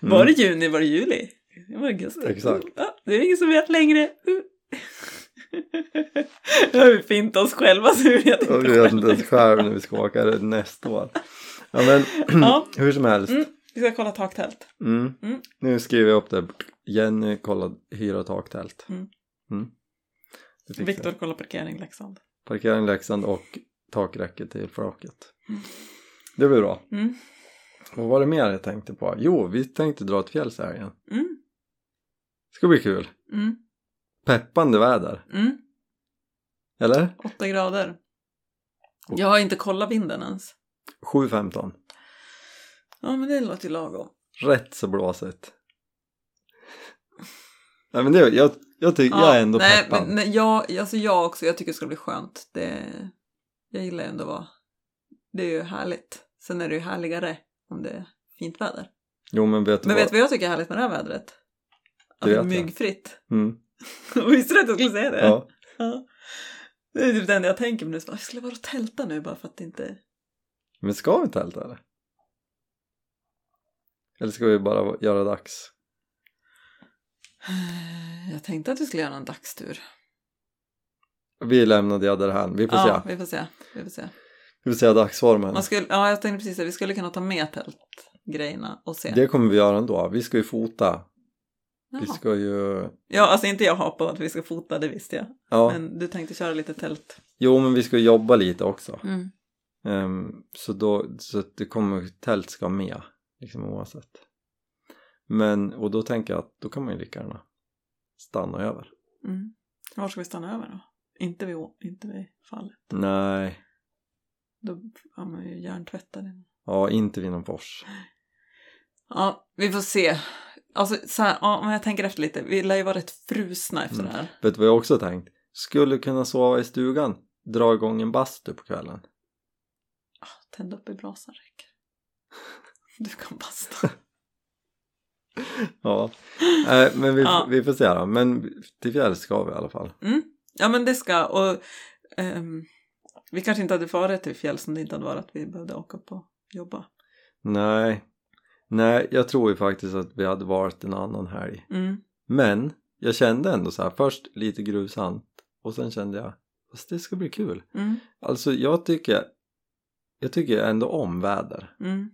S2: Var det juni? Var det juli? Det var augusti.
S1: Mm. Exakt.
S2: Ja, det är ingen som vet längre. Uh. Nu har vi fint oss själva så vi vet inte
S1: Och vi vet
S2: själva.
S1: inte ens själv när vi ska åka det nästa år. Ja men
S2: Ja.
S1: hur som helst.
S2: Mm. Vi ska kolla taktält.
S1: Mm.
S2: Mm.
S1: Nu skriver jag upp det. Jenny kollade hyra taktält.
S2: Mm.
S1: Mm. Det fixar
S2: Viktor
S1: jag.
S2: kollar parkering i Leksand.
S1: Parkering i Leksand och takräcket till flaket.
S2: Mm.
S1: Det blir bra.
S2: Mm.
S1: Vad var det mer jag tänkte på? Jo, vi tänkte dra till fjälls här igen.
S2: Mm.
S1: Ska bli kul.
S2: Mm.
S1: Peppande väder.
S2: Mm.
S1: Eller?
S2: Åtta grader.
S1: Oh.
S2: Jag har inte kollat vinden ens.
S1: 7.15.
S2: Ja, men det låter ju lagom.
S1: Rätt så blåsigt. Nej men det, jag, jag, tycker, jag är ändå
S2: nej,
S1: peppad.
S2: men, nej, jag, alltså jag också. Jag tycker det ska bli skönt. Det, jag gillar ju ändå att vara... Det är ju härligt. Sen är det ju härligare om det är fint väder.
S1: Jo men vet du
S2: Men
S1: vad?
S2: vet du vad jag tycker är härligt med det här vädret? Att
S1: Det
S2: det är
S1: vet jag.
S2: myggfritt.
S1: Mm,
S2: Visste du att jag skulle säga det?
S1: ja.
S2: Ja. Det är typ det enda jag tänker på nu. Så bara, Jag skulle vara och tälta nu bara för att inte...
S1: Men ska vi tälta eller? Eller ska vi bara göra dags?
S2: Jag tänkte att vi skulle göra en dagstur.
S1: Vi lämnar Diaderhalm, vi får
S2: Ja,
S1: se.
S2: vi får se. Vi får se.
S1: Vi får se dagsformen.
S2: Man skulle, ja, jag tänkte precis det. Vi skulle kunna ta med tältgrejerna och se.
S1: Det kommer vi göra ändå. Vi ska ju fota. Vi
S2: Jaha.
S1: ska ju...
S2: Ja, alltså inte jag har på att vi ska fota, det visste jag.
S1: Ja,
S2: Men du tänkte köra lite tält.
S1: jo men vi ska ju jobba lite också.
S2: Mm.
S1: Ehm, så då, så att det kommer, tält ska med. Liksom oavsett. Men, och då tänker jag att då kan man ju lika gärna stanna över.
S2: Mm. Var ska vi stanna över då? Inte vid, å- inte vid fallet.
S1: Nej,
S2: Då har man ju hjärntvättad. innan.
S1: ja inte vid någon fors.
S2: Ja, vi får se. Alltså, så här, ja, men jag tänker efter lite. Vi lär ju vara rätt frusna efter
S1: Mm.
S2: det här.
S1: Vet du vad jag också tänkt? Skulle kunna sova i stugan, dra igång en bastu på kvällen.
S2: Ah, Tänd upp i brasan räcker. Du kan basta.
S1: Ja, Nej, men vi,
S2: Ja.
S1: vi får se då. Men till fjärr ska vi i alla fall.
S2: Mm. Ja, men det ska. Och ehm, vi kanske inte hade farit till fjälls om det inte hade varit att vi behövde åka upp och jobba.
S1: Nej, nej, jag tror ju faktiskt att vi hade varit en annan helg.
S2: Mm.
S1: Men jag kände ändå så här, först lite grusant och sen kände jag, fast det ska bli kul.
S2: Mm.
S1: Alltså jag tycker, jag tycker ändå om väder.
S2: Mm.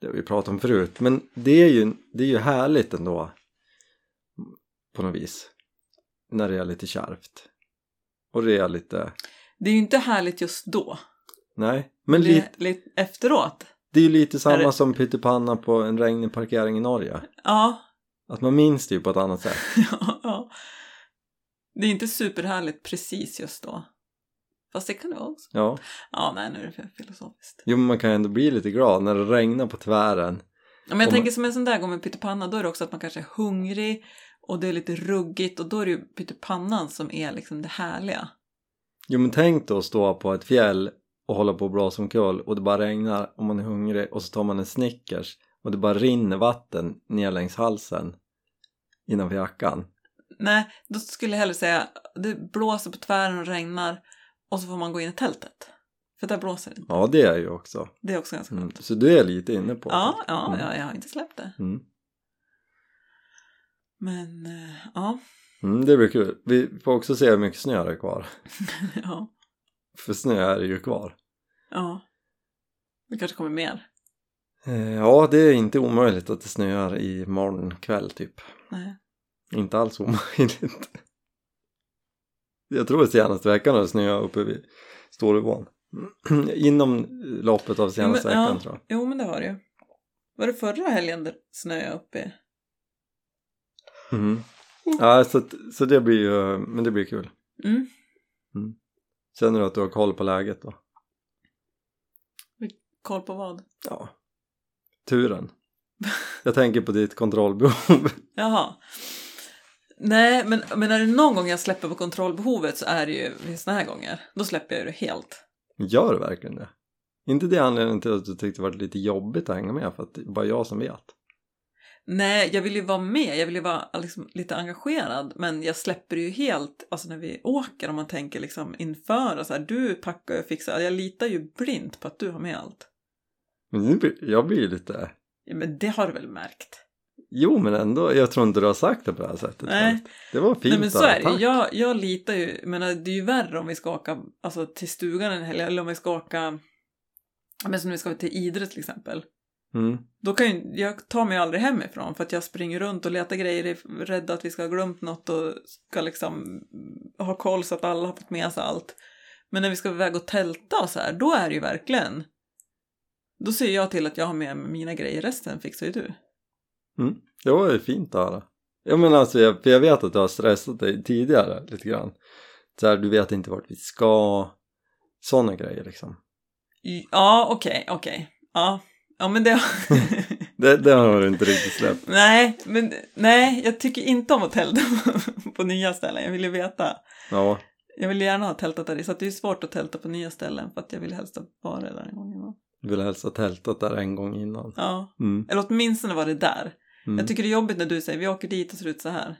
S1: det har vi pratat om förut men det är ju, det är ju härligt ändå på något vis när det är lite kärvt och det är lite
S2: Det är ju inte härligt just då.
S1: nej men
S2: det,
S1: lite,
S2: lite efteråt.
S1: det är ju lite samma
S2: Är det-
S1: som pyttipanna på en regnig parkering i Norge
S2: Ja,
S1: att man minns det ju på ett annat sätt
S2: ja, ja. Det är inte superhärligt precis just då. Fast det kan det vara också.
S1: ja
S2: Ja, nej, nu är det för filosofiskt.
S1: jo men man kan ju ändå bli lite glad när det regnar på tvären
S2: Ja, Men jag
S1: Om-
S2: tänker som en sån där gång med pyttipanna, då är det också att man kanske är hungrig och det är lite ruggigt och då är det ju pyttipannan som är liksom det härliga.
S1: jo men tänk då att stå på ett fjäll och hålla på och blåsa omkull och det bara regnar och man är hungrig och så tar man en Snickers och det bara rinner vatten ner längs halsen innanför jackan
S2: Nej, då skulle jag hellre säga det blåser på tvären och regnar och så får man gå in i tältet. För där blåser det inte.
S1: Ja, det är ju också.
S2: Det är också ganska
S1: Mm.
S2: skönt.
S1: Så du är lite inne på
S2: Ja,
S1: det.
S2: ja,
S1: Mm.
S2: ja, jag har inte släppt det.
S1: Mm.
S2: Men eh, ja,
S1: Mm, det blir kul. Vi får också se hur mycket snö det är kvar.
S2: ja,
S1: För snö är det ju kvar.
S2: ja. Det kanske kommer mer.
S1: Eh, Ja, det är inte omöjligt att det snöar i morgon kväll typ.
S2: Nej.
S1: Inte alls omöjligt. Jag tror att senaste veckan har det snöat uppe vid Storuvån. Inom loppet av senaste
S2: Men, ja.
S1: veckan tror jag.
S2: Jo, men det har det ju. Var det förra helgen det snöade upp i?
S1: Mm. Ja, så, att, så det blir ju, men det blir kul.
S2: Mm.
S1: Känner du att du har koll på läget då?
S2: Koll på vad?
S1: Ja, turen. Jag tänker på ditt kontrollbehov.
S2: Jaha. Nej, men, men är det någon gång jag släpper på kontrollbehovet så är det ju vid såna här gånger. Då släpper jag ju det helt.
S1: Gör du verkligen det? Inte det anledningen till att du tyckte det var lite jobbigt att hänga med för att det är bara jag som vet?
S2: Nej, jag vill ju vara med, jag vill ju vara liksom, lite engagerad men jag släpper ju helt, alltså när vi åker om man tänker liksom inför och så här, du packar och fixar, jag litar ju blint på att du har med allt.
S1: Men nu blir, jag blir ju lite...
S2: Ja, men det har du väl märkt?
S1: Jo men ändå, jag tror inte du har sagt det på det här sättet
S2: Nej.
S1: förut. Det var fint
S2: Nej men så
S1: av
S2: är
S1: dig,
S2: det ju.
S1: tack.
S2: jag, jag litar ju, jag menar det är ju värre om vi ska åka alltså, till stugan en helg eller om vi ska åka, ja, men som när vi ska till Idre till exempel.
S1: Mm.
S2: Då kan ju, jag tar mig ju aldrig hemifrån för att jag springer runt och letar grejer, är rädd att vi ska ha glömt något och ska liksom ha koll så att alla har fått med sig allt. Men när vi ska iväg och tälta och så här, då är det ju verkligen, då ser jag till att jag har med mig mina grejer, resten fixar ju du.
S1: Det var ju fint att höra. Jag menar alltså, jag, för jag vet att du har stressat dig tidigare lite grann. Så här, du vet inte vart vi ska, sådana grejer liksom.
S2: Ja, okej, okej. Ja, Ja, men det...
S1: Det, det har du inte riktigt släppt.
S2: nej, men nej, jag tycker inte om att tälta på nya ställen. Jag vill ju veta.
S1: Ja,
S2: Jag vill gärna ha tältat där i, så att det är svårt att tälta på nya ställen för att jag vill helst vara där en gång innan.
S1: vill helst ha tältat där en gång innan.
S2: Ja,
S1: Mm,
S2: eller åtminstone var det där.
S1: mm.
S2: Jag tycker det är jobbigt när du säger vi åker dit och ser ut så här.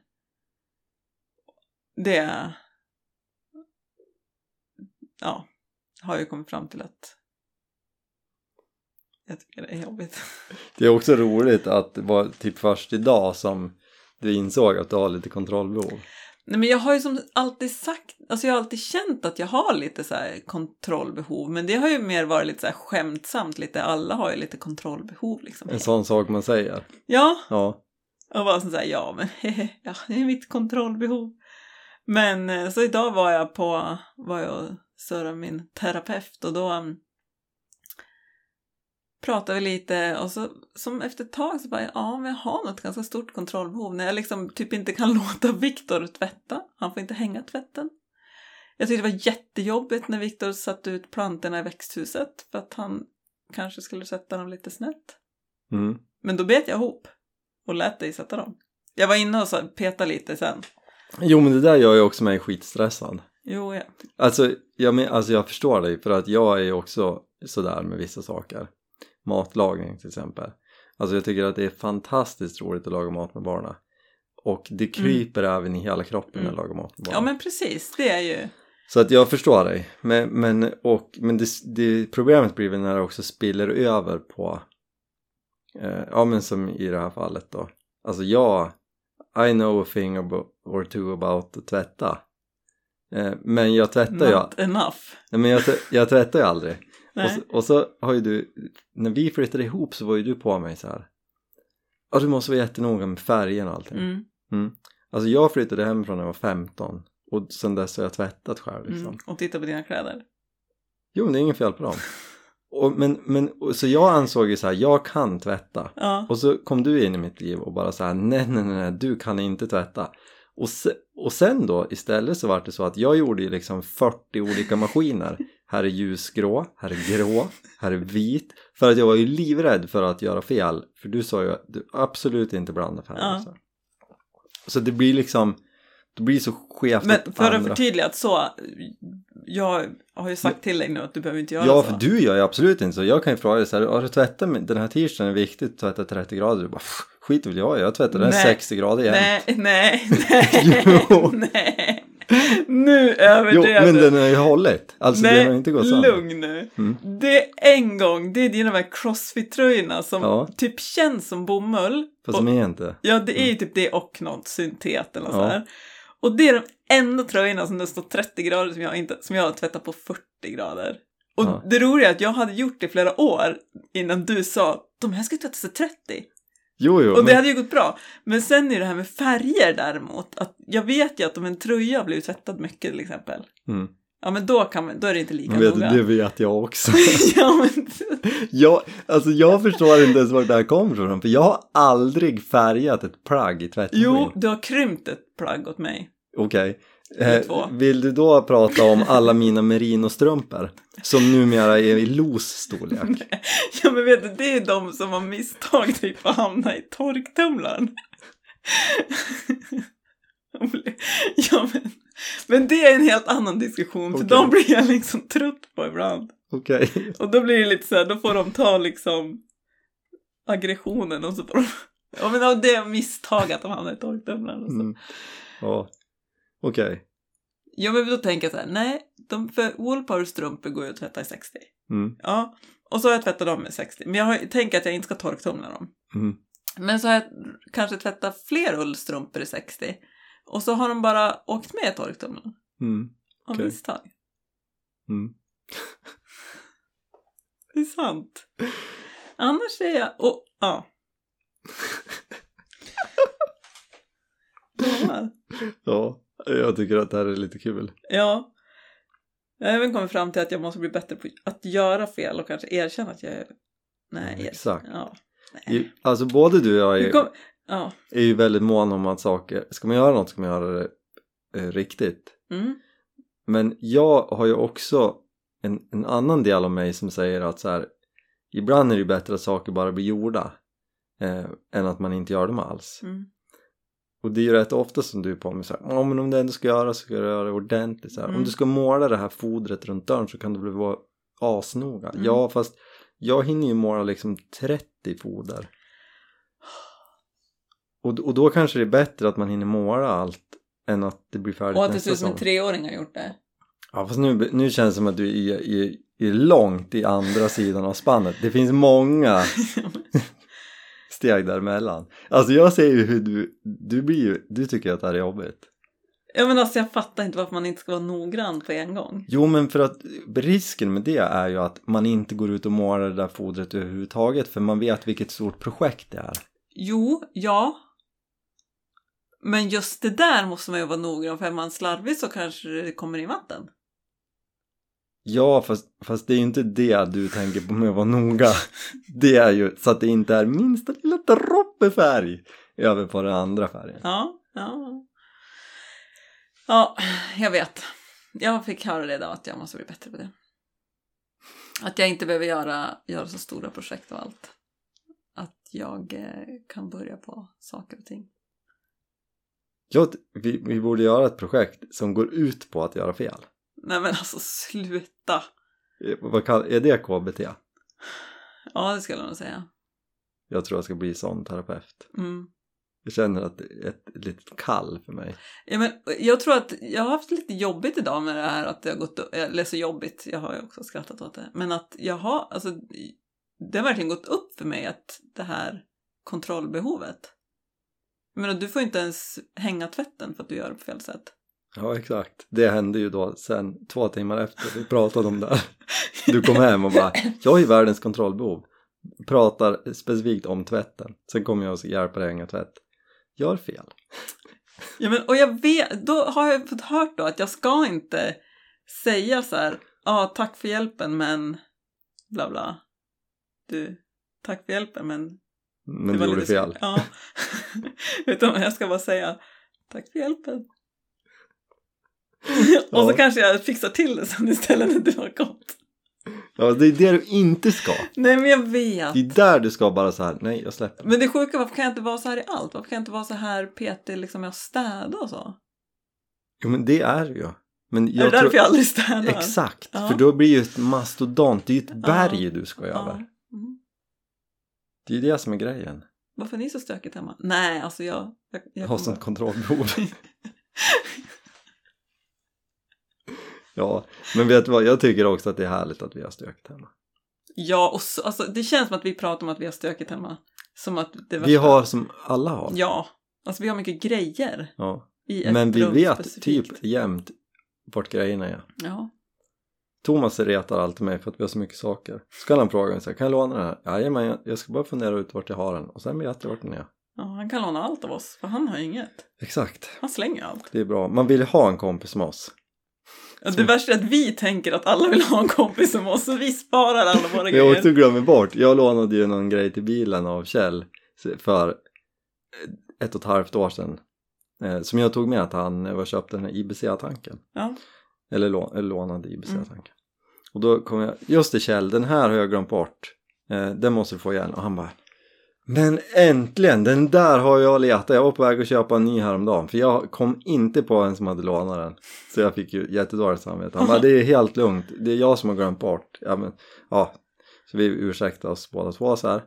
S2: Det... Ja, har jag kommit fram till att jag tycker det är jobbigt.
S1: Det är också roligt att det var typ först idag som du insåg att du har lite kontrollbehov.
S2: Nej men jag har ju som alltid sagt, alltså jag har alltid känt att jag har lite så här kontrollbehov men det har ju mer varit lite så här skämtsamt lite, alla har ju lite kontrollbehov liksom.
S1: En sån sak man säger.
S2: Ja,
S1: Ja,
S2: och bara så här, ja men hehe, ja, det är mitt kontrollbehov. Men eh, så idag var jag på, var jag och surrade med min terapeut och då um, pratade vi lite och så som efter ett tag så bara, ja men jag har något ganska stort kontrollbehov när jag liksom typ inte kan låta Viktor tvätta. Han får inte hänga tvätten. Jag tyckte det var jättejobbigt när Viktor satte ut plantorna i växthuset för att han kanske skulle sätta dem lite snett.
S1: mm.
S2: Men då bet jag ihop och lät dig sätta dem. Jag var inne och så- petade lite sen.
S1: Jo men det där gör ju också mig skitstressad.
S2: Jo, ja.
S1: Alltså jag, men, alltså jag förstår dig för att jag är ju också sådär med vissa saker. Matlagning till exempel. Alltså jag tycker att det är fantastiskt roligt att laga mat med barnen. Och det kryper även i hela kroppen när jag lagar mat med barnen.
S2: ja, men precis. Det är ju...
S1: Så att jag förstår dig. Men, men, och, men det, det, problemet blir väl när det också spiller över på, eh, ja men som i det här fallet då. Alltså jag, I know a thing abo- or two about att tvätta. Eh, men jag tvättar ju,
S2: Not enough.
S1: nej, men jag, tv- jag tvättar ju aldrig. Och
S2: Nej.
S1: så, och så har ju du, när vi flyttade ihop så var ju du på mig så här. Ja du måste vara jättenoga med färgen och allting.
S2: Mm,
S1: Alltså jag flyttade hemifrån när jag var 15 och sen dess har jag tvättat själv liksom.
S2: mm. Och titta på dina kläder.
S1: Jo, men det är inget fel på dem. Och, men, men, och, så jag ansåg ju så här, jag kan tvätta.
S2: Ja.
S1: Och så kom du in i mitt liv och bara så här, nej, nej, nej, nej du kan inte tvätta. Och, se, och sen då, istället så var det så att jag gjorde ju liksom 40 olika maskiner. Här är ljusgrå, här är grå, här är vit. För att jag var ju livrädd för att göra fel. För du sa ju att du absolut inte blanda färger.
S2: Ja.
S1: Så, här. så det blir liksom, det blir så skevt.
S2: Men
S1: åt
S2: för att
S1: andra-
S2: förtydliga att så... Jag har ju sagt till dig nu att du behöver inte göra
S1: Ja,
S2: så.
S1: för du gör ju absolut inte så. Jag kan ju fråga dig så här, har du tvättat med, den här t-shirten är viktigt att tvätta 30 grader? Du bara, "Pff, skit väl jag i, jag tvättar den
S2: Nej.
S1: 60 grader igen.
S2: Nej, nej, nej,
S1: Jo.
S2: nej. Nu
S1: jo,
S2: överdrev
S1: men
S2: du.
S1: den har ju hållit. Alltså
S2: Nej,
S1: den har ju inte gått sönder.
S2: lugn nu.
S1: Mm.
S2: Det är en gång, det är dina de här crossfit-tröjorna som
S1: Ja.
S2: typ känns som bomull.
S1: Fast
S2: och,
S1: de är inte.
S2: Ja, det är ju typ det och något syntet eller något
S1: Mm. Ja.
S2: så här. Och det är de enda tröjorna som det står 30 grader som jag, inte, som jag har tvättat på 40 grader. Och
S1: Ja.
S2: det roliga är att jag hade gjort det i flera år innan du sa de här ska tvättas till 30.
S1: Jo, jo,
S2: Och det
S1: men,
S2: hade ju gått bra. Men sen är det här med färger däremot. Att jag vet ju att om en tröja blir tvättad mycket till exempel.
S1: mm.
S2: Ja men då, kan man, då är det inte lika
S1: Men vet, du,
S2: noga.
S1: det vet jag också.
S2: ja, men,
S1: jag, alltså jag förstår inte ens vart det här kommer ifrån. För jag har aldrig färgat ett plagg i tvättmaskin.
S2: jo, du har krympt ett plagg åt mig.
S1: Okej.
S2: är två.
S1: Eh, vill du då prata om alla mina merinostrumpor? Som numera är i los storlek.
S2: Ja men vet du, det är de som har misstag typ att hamna i torktumlaren. ja, men, men det är en helt annan diskussion, för
S1: Okej.
S2: de blir jag liksom trött på ibland.
S1: Okej.
S2: Och då blir det lite så här, då får de ta liksom aggressionen och så får de... Ja men ja, det är misstag att de hamnar i torktumlaren. Och så.
S1: Mm. Ja. Okej.
S2: Ja men då tänker jag så här, nej, de, för Woolpowers strumpor går ju att tvätta i 60.
S1: Mm.
S2: Ja, och så har jag tvättat dem i 60. Men jag har, tänker att jag inte ska torktumla dem.
S1: Mm.
S2: Men så har jag kanske tvättat fler ullstrumpor i 60. Och så har de bara åkt med i torktumlaren
S1: Mm.
S2: av
S1: Okej.
S2: misstag.
S1: Mm.
S2: Det är sant. Annars är jag... Och, ja. ja.
S1: Ja, jag tycker att det här är lite kul.
S2: Ja. Jag har även kommit fram till att jag måste bli bättre på att göra fel och kanske erkänna att jag... Nej, erkänna.
S1: Exakt.
S2: Ja.
S1: I- Alltså både du och jag
S2: Hur
S1: är,
S2: kom... Ja.
S1: är ju väldigt måna om att saker, ska man göra något ska man göra det eh, riktigt.
S2: Mm.
S1: Men jag har ju också en, en annan del av mig som säger att så här, ibland är det ju bättre att saker bara blir gjorda eh, än att man inte gör dem alls.
S2: Mm.
S1: Och det är ju rätt ofta som du påminner så här, "Ja, men om du ändå ska göra så ska du göra det ordentligt. Så här.
S2: Mm.
S1: Om du ska måla det här fodret runt dörren så kan du väl vara asnoga.
S2: Mm.
S1: Ja, fast jag hinner ju måla liksom 30 foder. Och, och då kanske det är bättre att man hinner måla allt än att det blir färdigt
S2: Och att det
S1: nästa
S2: ser ut som en
S1: sommar.
S2: treåring har gjort det.
S1: Ja fast nu, nu känns det som att du är, är, är långt i andra sidan av spannet. Det finns många steg däremellan. Alltså jag ser ju hur du, du blir ju, du tycker att det här är jobbigt.
S2: ja men alltså jag fattar inte varför man inte ska vara noggrann på en gång.
S1: Jo men för att risken med det är ju att man inte går ut och målar det där fodret överhuvudtaget för man vet vilket stort projekt det är.
S2: Jo, ja. Men just det där måste man ju vara noggrann för är man slarvig så kanske det kommer i vatten.
S1: Ja fast, fast det är ju inte det du tänker på med att vara noga. Det är ju så att det inte är minsta lilla droppe färg över på den andra färgen.
S2: Ja, ja. Ja, jag vet. Jag fick höra det idag att jag måste bli bättre på det. Att jag inte behöver göra, göra så stora projekt och allt. Att jag eh, kan börja på saker och ting.
S1: Jag, vi, vi borde göra ett projekt som går ut på att göra fel.
S2: Nej men alltså sluta!
S1: Eh, Vad kall, är det KBT?
S2: Ja, det skulle jag nog säga.
S1: Jag tror jag ska bli sån terapeut.
S2: Mm.
S1: Jag känner att det är ett litet kall för mig.
S2: Ja, men jag tror att jag har haft lite jobbigt idag med det här att det har gått, eller så jobbigt, jag har ju också skrattat åt det, men att jag har, alltså det har verkligen gått upp för mig att det här kontrollbehovet. Jag menar, du får inte ens hänga tvätten för att du gör det på fel sätt.
S1: Ja, exakt. Det hände ju då sen två timmar efter vi pratade om det här. Du kom hem och bara, jag har ju världens kontrollbehov. Pratar specifikt om tvätten. Sen kommer jag och hjälper dig hänga tvätt. Gör fel.
S2: Ja, men, och jag vet, då har jag fått hört då att jag ska inte säga så här, ja tack för hjälpen men bla bla. Du, tack för hjälpen men
S1: Men
S2: Det
S1: du
S2: var
S1: gjorde
S2: lite så-
S1: fel.
S2: Ja. Utan jag ska bara säga tack för hjälpen. Och så
S1: Ja.
S2: kanske jag fixar till det sen istället när du har gått.
S1: Ja, det är det du inte ska.
S2: Nej men jag vet.
S1: Det är där du ska bara så här, nej jag släpper.
S2: Men det sjuka, varför kan jag inte vara så här i allt? Varför kan jag inte vara så här petig liksom med att städa och så?
S1: Jo men det är det ju. Men
S2: är det
S1: jag
S2: därför
S1: tror...
S2: jag aldrig städar?
S1: Exakt,
S2: Ja.
S1: för då blir ju ett mastodont, det är ju ett berg du ska
S2: Ja.
S1: över.
S2: Mm.
S1: Det är ju det som är grejen.
S2: Varför är ni så stökigt hemma? Nej, alltså jag... jag, jag
S1: Jag har
S2: kommer-
S1: sånt kontrollbehov. ja, men vet du vad, jag tycker också att det är härligt att vi har stökigt hemma.
S2: Ja, och så, alltså, det känns som att vi pratar om att vi har stökigt hemma. Som att
S1: Vi
S2: det värsta-
S1: har som alla har.
S2: Ja, alltså vi har mycket grejer.
S1: Ja.
S2: I ett
S1: Men vi
S2: rum
S1: vet
S2: specifikt.
S1: typ jämt vart grejerna är.
S2: Ja.
S1: Thomas retar alltid mig för att vi har så mycket saker. Så kan han fråga mig så här, kan jag låna den här? Jajamän, jag- jag ska bara fundera ut vart jag har den och sen vet jag vart den är.
S2: ja, han kan låna allt av oss för han har inget.
S1: Exakt,
S2: Han slänger allt.
S1: det är bra. Man vill ju ha en kompis med oss.
S2: Ja, det värsta är att vi tänker att alla vill ha en kompis som oss så vi sparar alla våra
S1: Men jag också
S2: grejer.
S1: glömmer bort, jag lånade ju någon grej till bilen av Kjell för ett och ett halvt år sedan eh, som jag tog med att han var köpte den här IBC-tanken
S2: Ja.
S1: eller, lå- eller lånade IBC-tanken och då kom jag, just det Kjell, den här har jag glömt bort eh, den måste du få igen och han bara men äntligen, den där har jag letat. Jag var på väg att köpa en ny häromdagen för jag kom inte på en som hade lånat den. Så jag fick ju jättedåligt samvete. Han bara, det är helt lugnt. Det är jag som har glömt bort. Ja, men, ja. Så vi ursäktar oss båda två så här.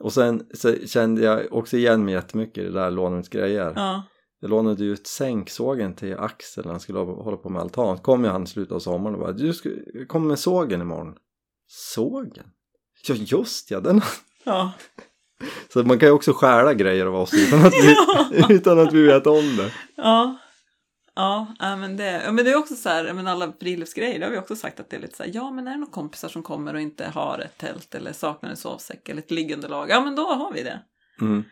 S1: Och sen så kände jag också igen mig jättemycket i det där lånets grejer.
S2: Ja.
S1: Jag lånade ju ut sänksågen till Axel när han skulle hålla på med altan. Kom ju han i slutet av sommaren och bara, du ska, kom med sågen imorgon. Sågen? Ja just ja, den
S2: Ja.
S1: så man kan ju också stjäla grejer av oss utan att vi, utan att vi vet om det.
S2: Ja. Ja, ja, men det, ja, men det är också så här, ja, men alla friluftsgrejer, det har vi också sagt att det är lite så här, ja men är det några kompisar som kommer och inte har ett tält eller saknar en sovsäck eller ett liggunderlag, ja men då har vi det.
S1: Mm.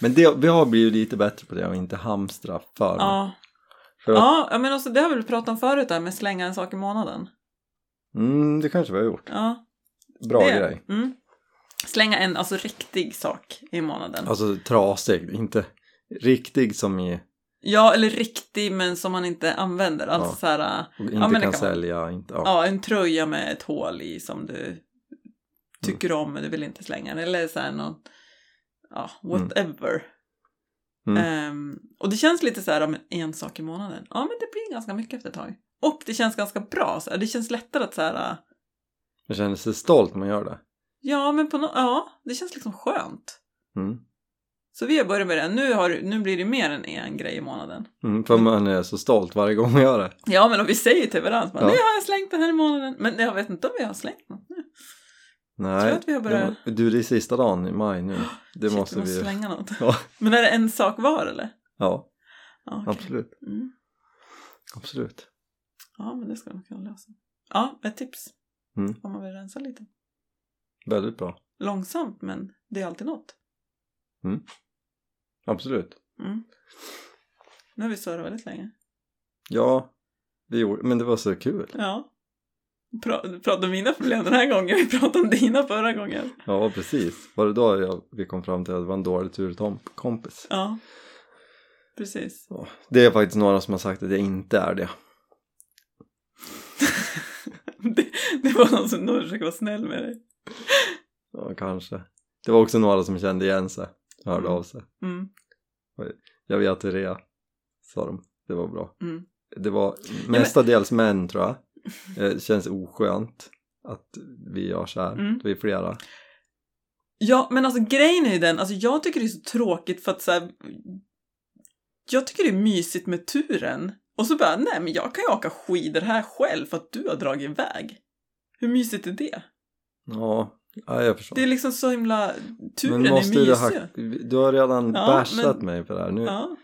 S1: Men det, vi har blivit lite bättre på det och inte hamstra för.
S2: Ja,
S1: För att-
S2: ja, ja men alltså, det har vi väl pratat om förut där med slänga en sak i månaden.
S1: Mm, det kanske vi har gjort.
S2: Ja.
S1: Bra
S2: Det-
S1: grej.
S2: Mm. Slänga en alltså riktig sak i månaden.
S1: Alltså trasig, inte riktig som i
S2: Ja, eller riktig men som man inte använder. Alltså
S1: Ja.
S2: så här, äh,
S1: och inte
S2: men det
S1: kan
S2: kan man.
S1: sälja. Inte, ja.
S2: ja, en tröja med ett hål i som du tycker
S1: Mm.
S2: om men du vill inte slänga den. Eller så här någon, ja, whatever.
S1: Mm.
S2: Ehm, och det känns lite så här, ja, men en sak i månaden. Ja, men det blir ganska mycket efter ett tag. Och det känns ganska bra. Så här. Det känns lättare att så här,
S1: Man känner sig stolt när man gör det.
S2: ja, men på nå ja, det känns liksom skönt.
S1: Mm.
S2: Så vi har börjat med det. Nu, har, nu blir det mer än en grej i månaden.
S1: Mm, för man är så stolt varje gång man gör det.
S2: Ja, men om vi säger till varandra, bara,
S1: Ja.
S2: nu har jag slängt den här i månaden. Men jag vet inte om vi har slängt något nu.
S1: Nej.
S2: tror att vi har börjat-
S1: det må- Du, det är sista dagen i maj nu. Det
S2: Shit,
S1: måste
S2: vi måste
S1: vi
S2: slänga något.
S1: Ja.
S2: Men är det en sak var eller?
S1: Ja,
S2: Ja, okej.
S1: absolut.
S2: Mm.
S1: Absolut.
S2: Ja, men det ska de kunna lösa. Ja, ett tips.
S1: Mm.
S2: Om man vill rensa lite.
S1: Väldigt bra.
S2: Långsamt, men det är alltid något.
S1: Absolut.
S2: Mm. Nu har vi surrat väldigt länge.
S1: Ja, vi gjorde, men det var så kul.
S2: Ja. Pra, prata om mina problem den här gången, vi pratade om dina förra gången.
S1: Ja, precis. Var det då jag, vi kom fram till att det var en dålig turkompis?
S2: Ja. Precis.
S1: Ja. Det är faktiskt några som har sagt att jag inte är det.
S2: Det, det var någon som någon försökte vara snäll med dig.
S1: Ja, kanske. Det var också några som kände igen sig, hörde
S2: Mm.
S1: av sig.
S2: Mm.
S1: Jag vet hur det är, sa de. Det var bra.
S2: Mm.
S1: Det var mestadels män, tror jag. Eh, Det känns oskönt att vi gör så här.
S2: Mm.
S1: Vi är flera.
S2: Ja, men alltså grejen är ju den, alltså jag tycker det är så tråkigt för att så här, Jag tycker det är mysigt med turen. Och så bara, nej men jag kan ju åka skidor här själv för att du har dragit iväg. Hur mysigt är det?
S1: Ja, ja jag förstår.
S2: Det är liksom så himla... Turen
S1: men måste
S2: är
S1: du,
S2: mysig.
S1: ha, du har redan
S2: Ja,
S1: bashat
S2: men-
S1: mig för det här. Nu,
S2: Ja.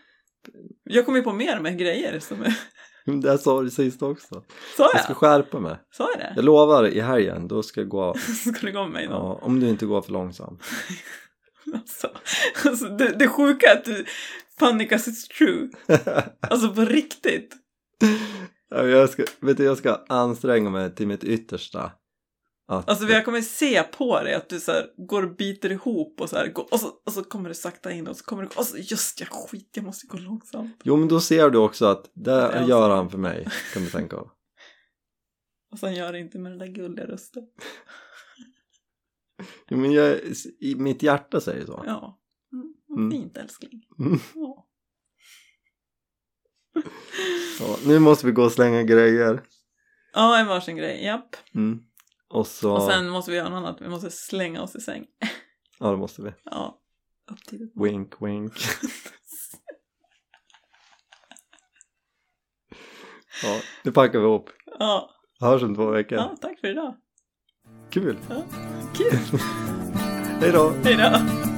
S2: Jag kommer ju på mer med grejer som är...
S1: Det här sa du sist också.
S2: Sa
S1: Jag ska
S2: jag?
S1: skärpa mig.
S2: Sa jag det?
S1: Jag lovar, i helgen då ska jag gå...
S2: Ska du gå med mig då?
S1: Ja, om du inte går för långsamt.
S2: Alltså, alltså det, det sjuka är att du... Panicas is true. Alltså på riktigt.
S1: Ja, jag, ska, vet du, jag ska anstränga mig till mitt yttersta. Att,
S2: Alltså jag kommer se på dig att du så här, går och biter ihop och så här, går, och, så, och så kommer du sakta in och så kommer du och så just ja, skit, jag måste gå långsamt.
S1: Jo, men då ser du också att
S2: är alltså-
S1: det
S2: han
S1: gör
S2: som-
S1: han för mig, kan du tänka av.
S2: Och sen gör det inte med den där gulliga rösten.
S1: Jo, men jag, i mitt hjärta säger så.
S2: Ja. Mm, vad
S1: Mm.
S2: Fint älskling.
S1: Mm.
S2: Ja.
S1: Ja, nu måste vi gå och slänga grejer.
S2: ja, en varsin grej, japp.
S1: Mm. Och så...
S2: Och sen måste vi göra något annat, vi måste slänga oss i säng.
S1: Ja, det måste vi.
S2: Ja. Upp till ditt
S1: Wink, wink. ja, nu packar vi ihop.
S2: Ja.
S1: Hörs om två veckor.
S2: ja, tack för idag.
S1: Kul!
S2: Kul,
S1: Hej då!
S2: hejdå!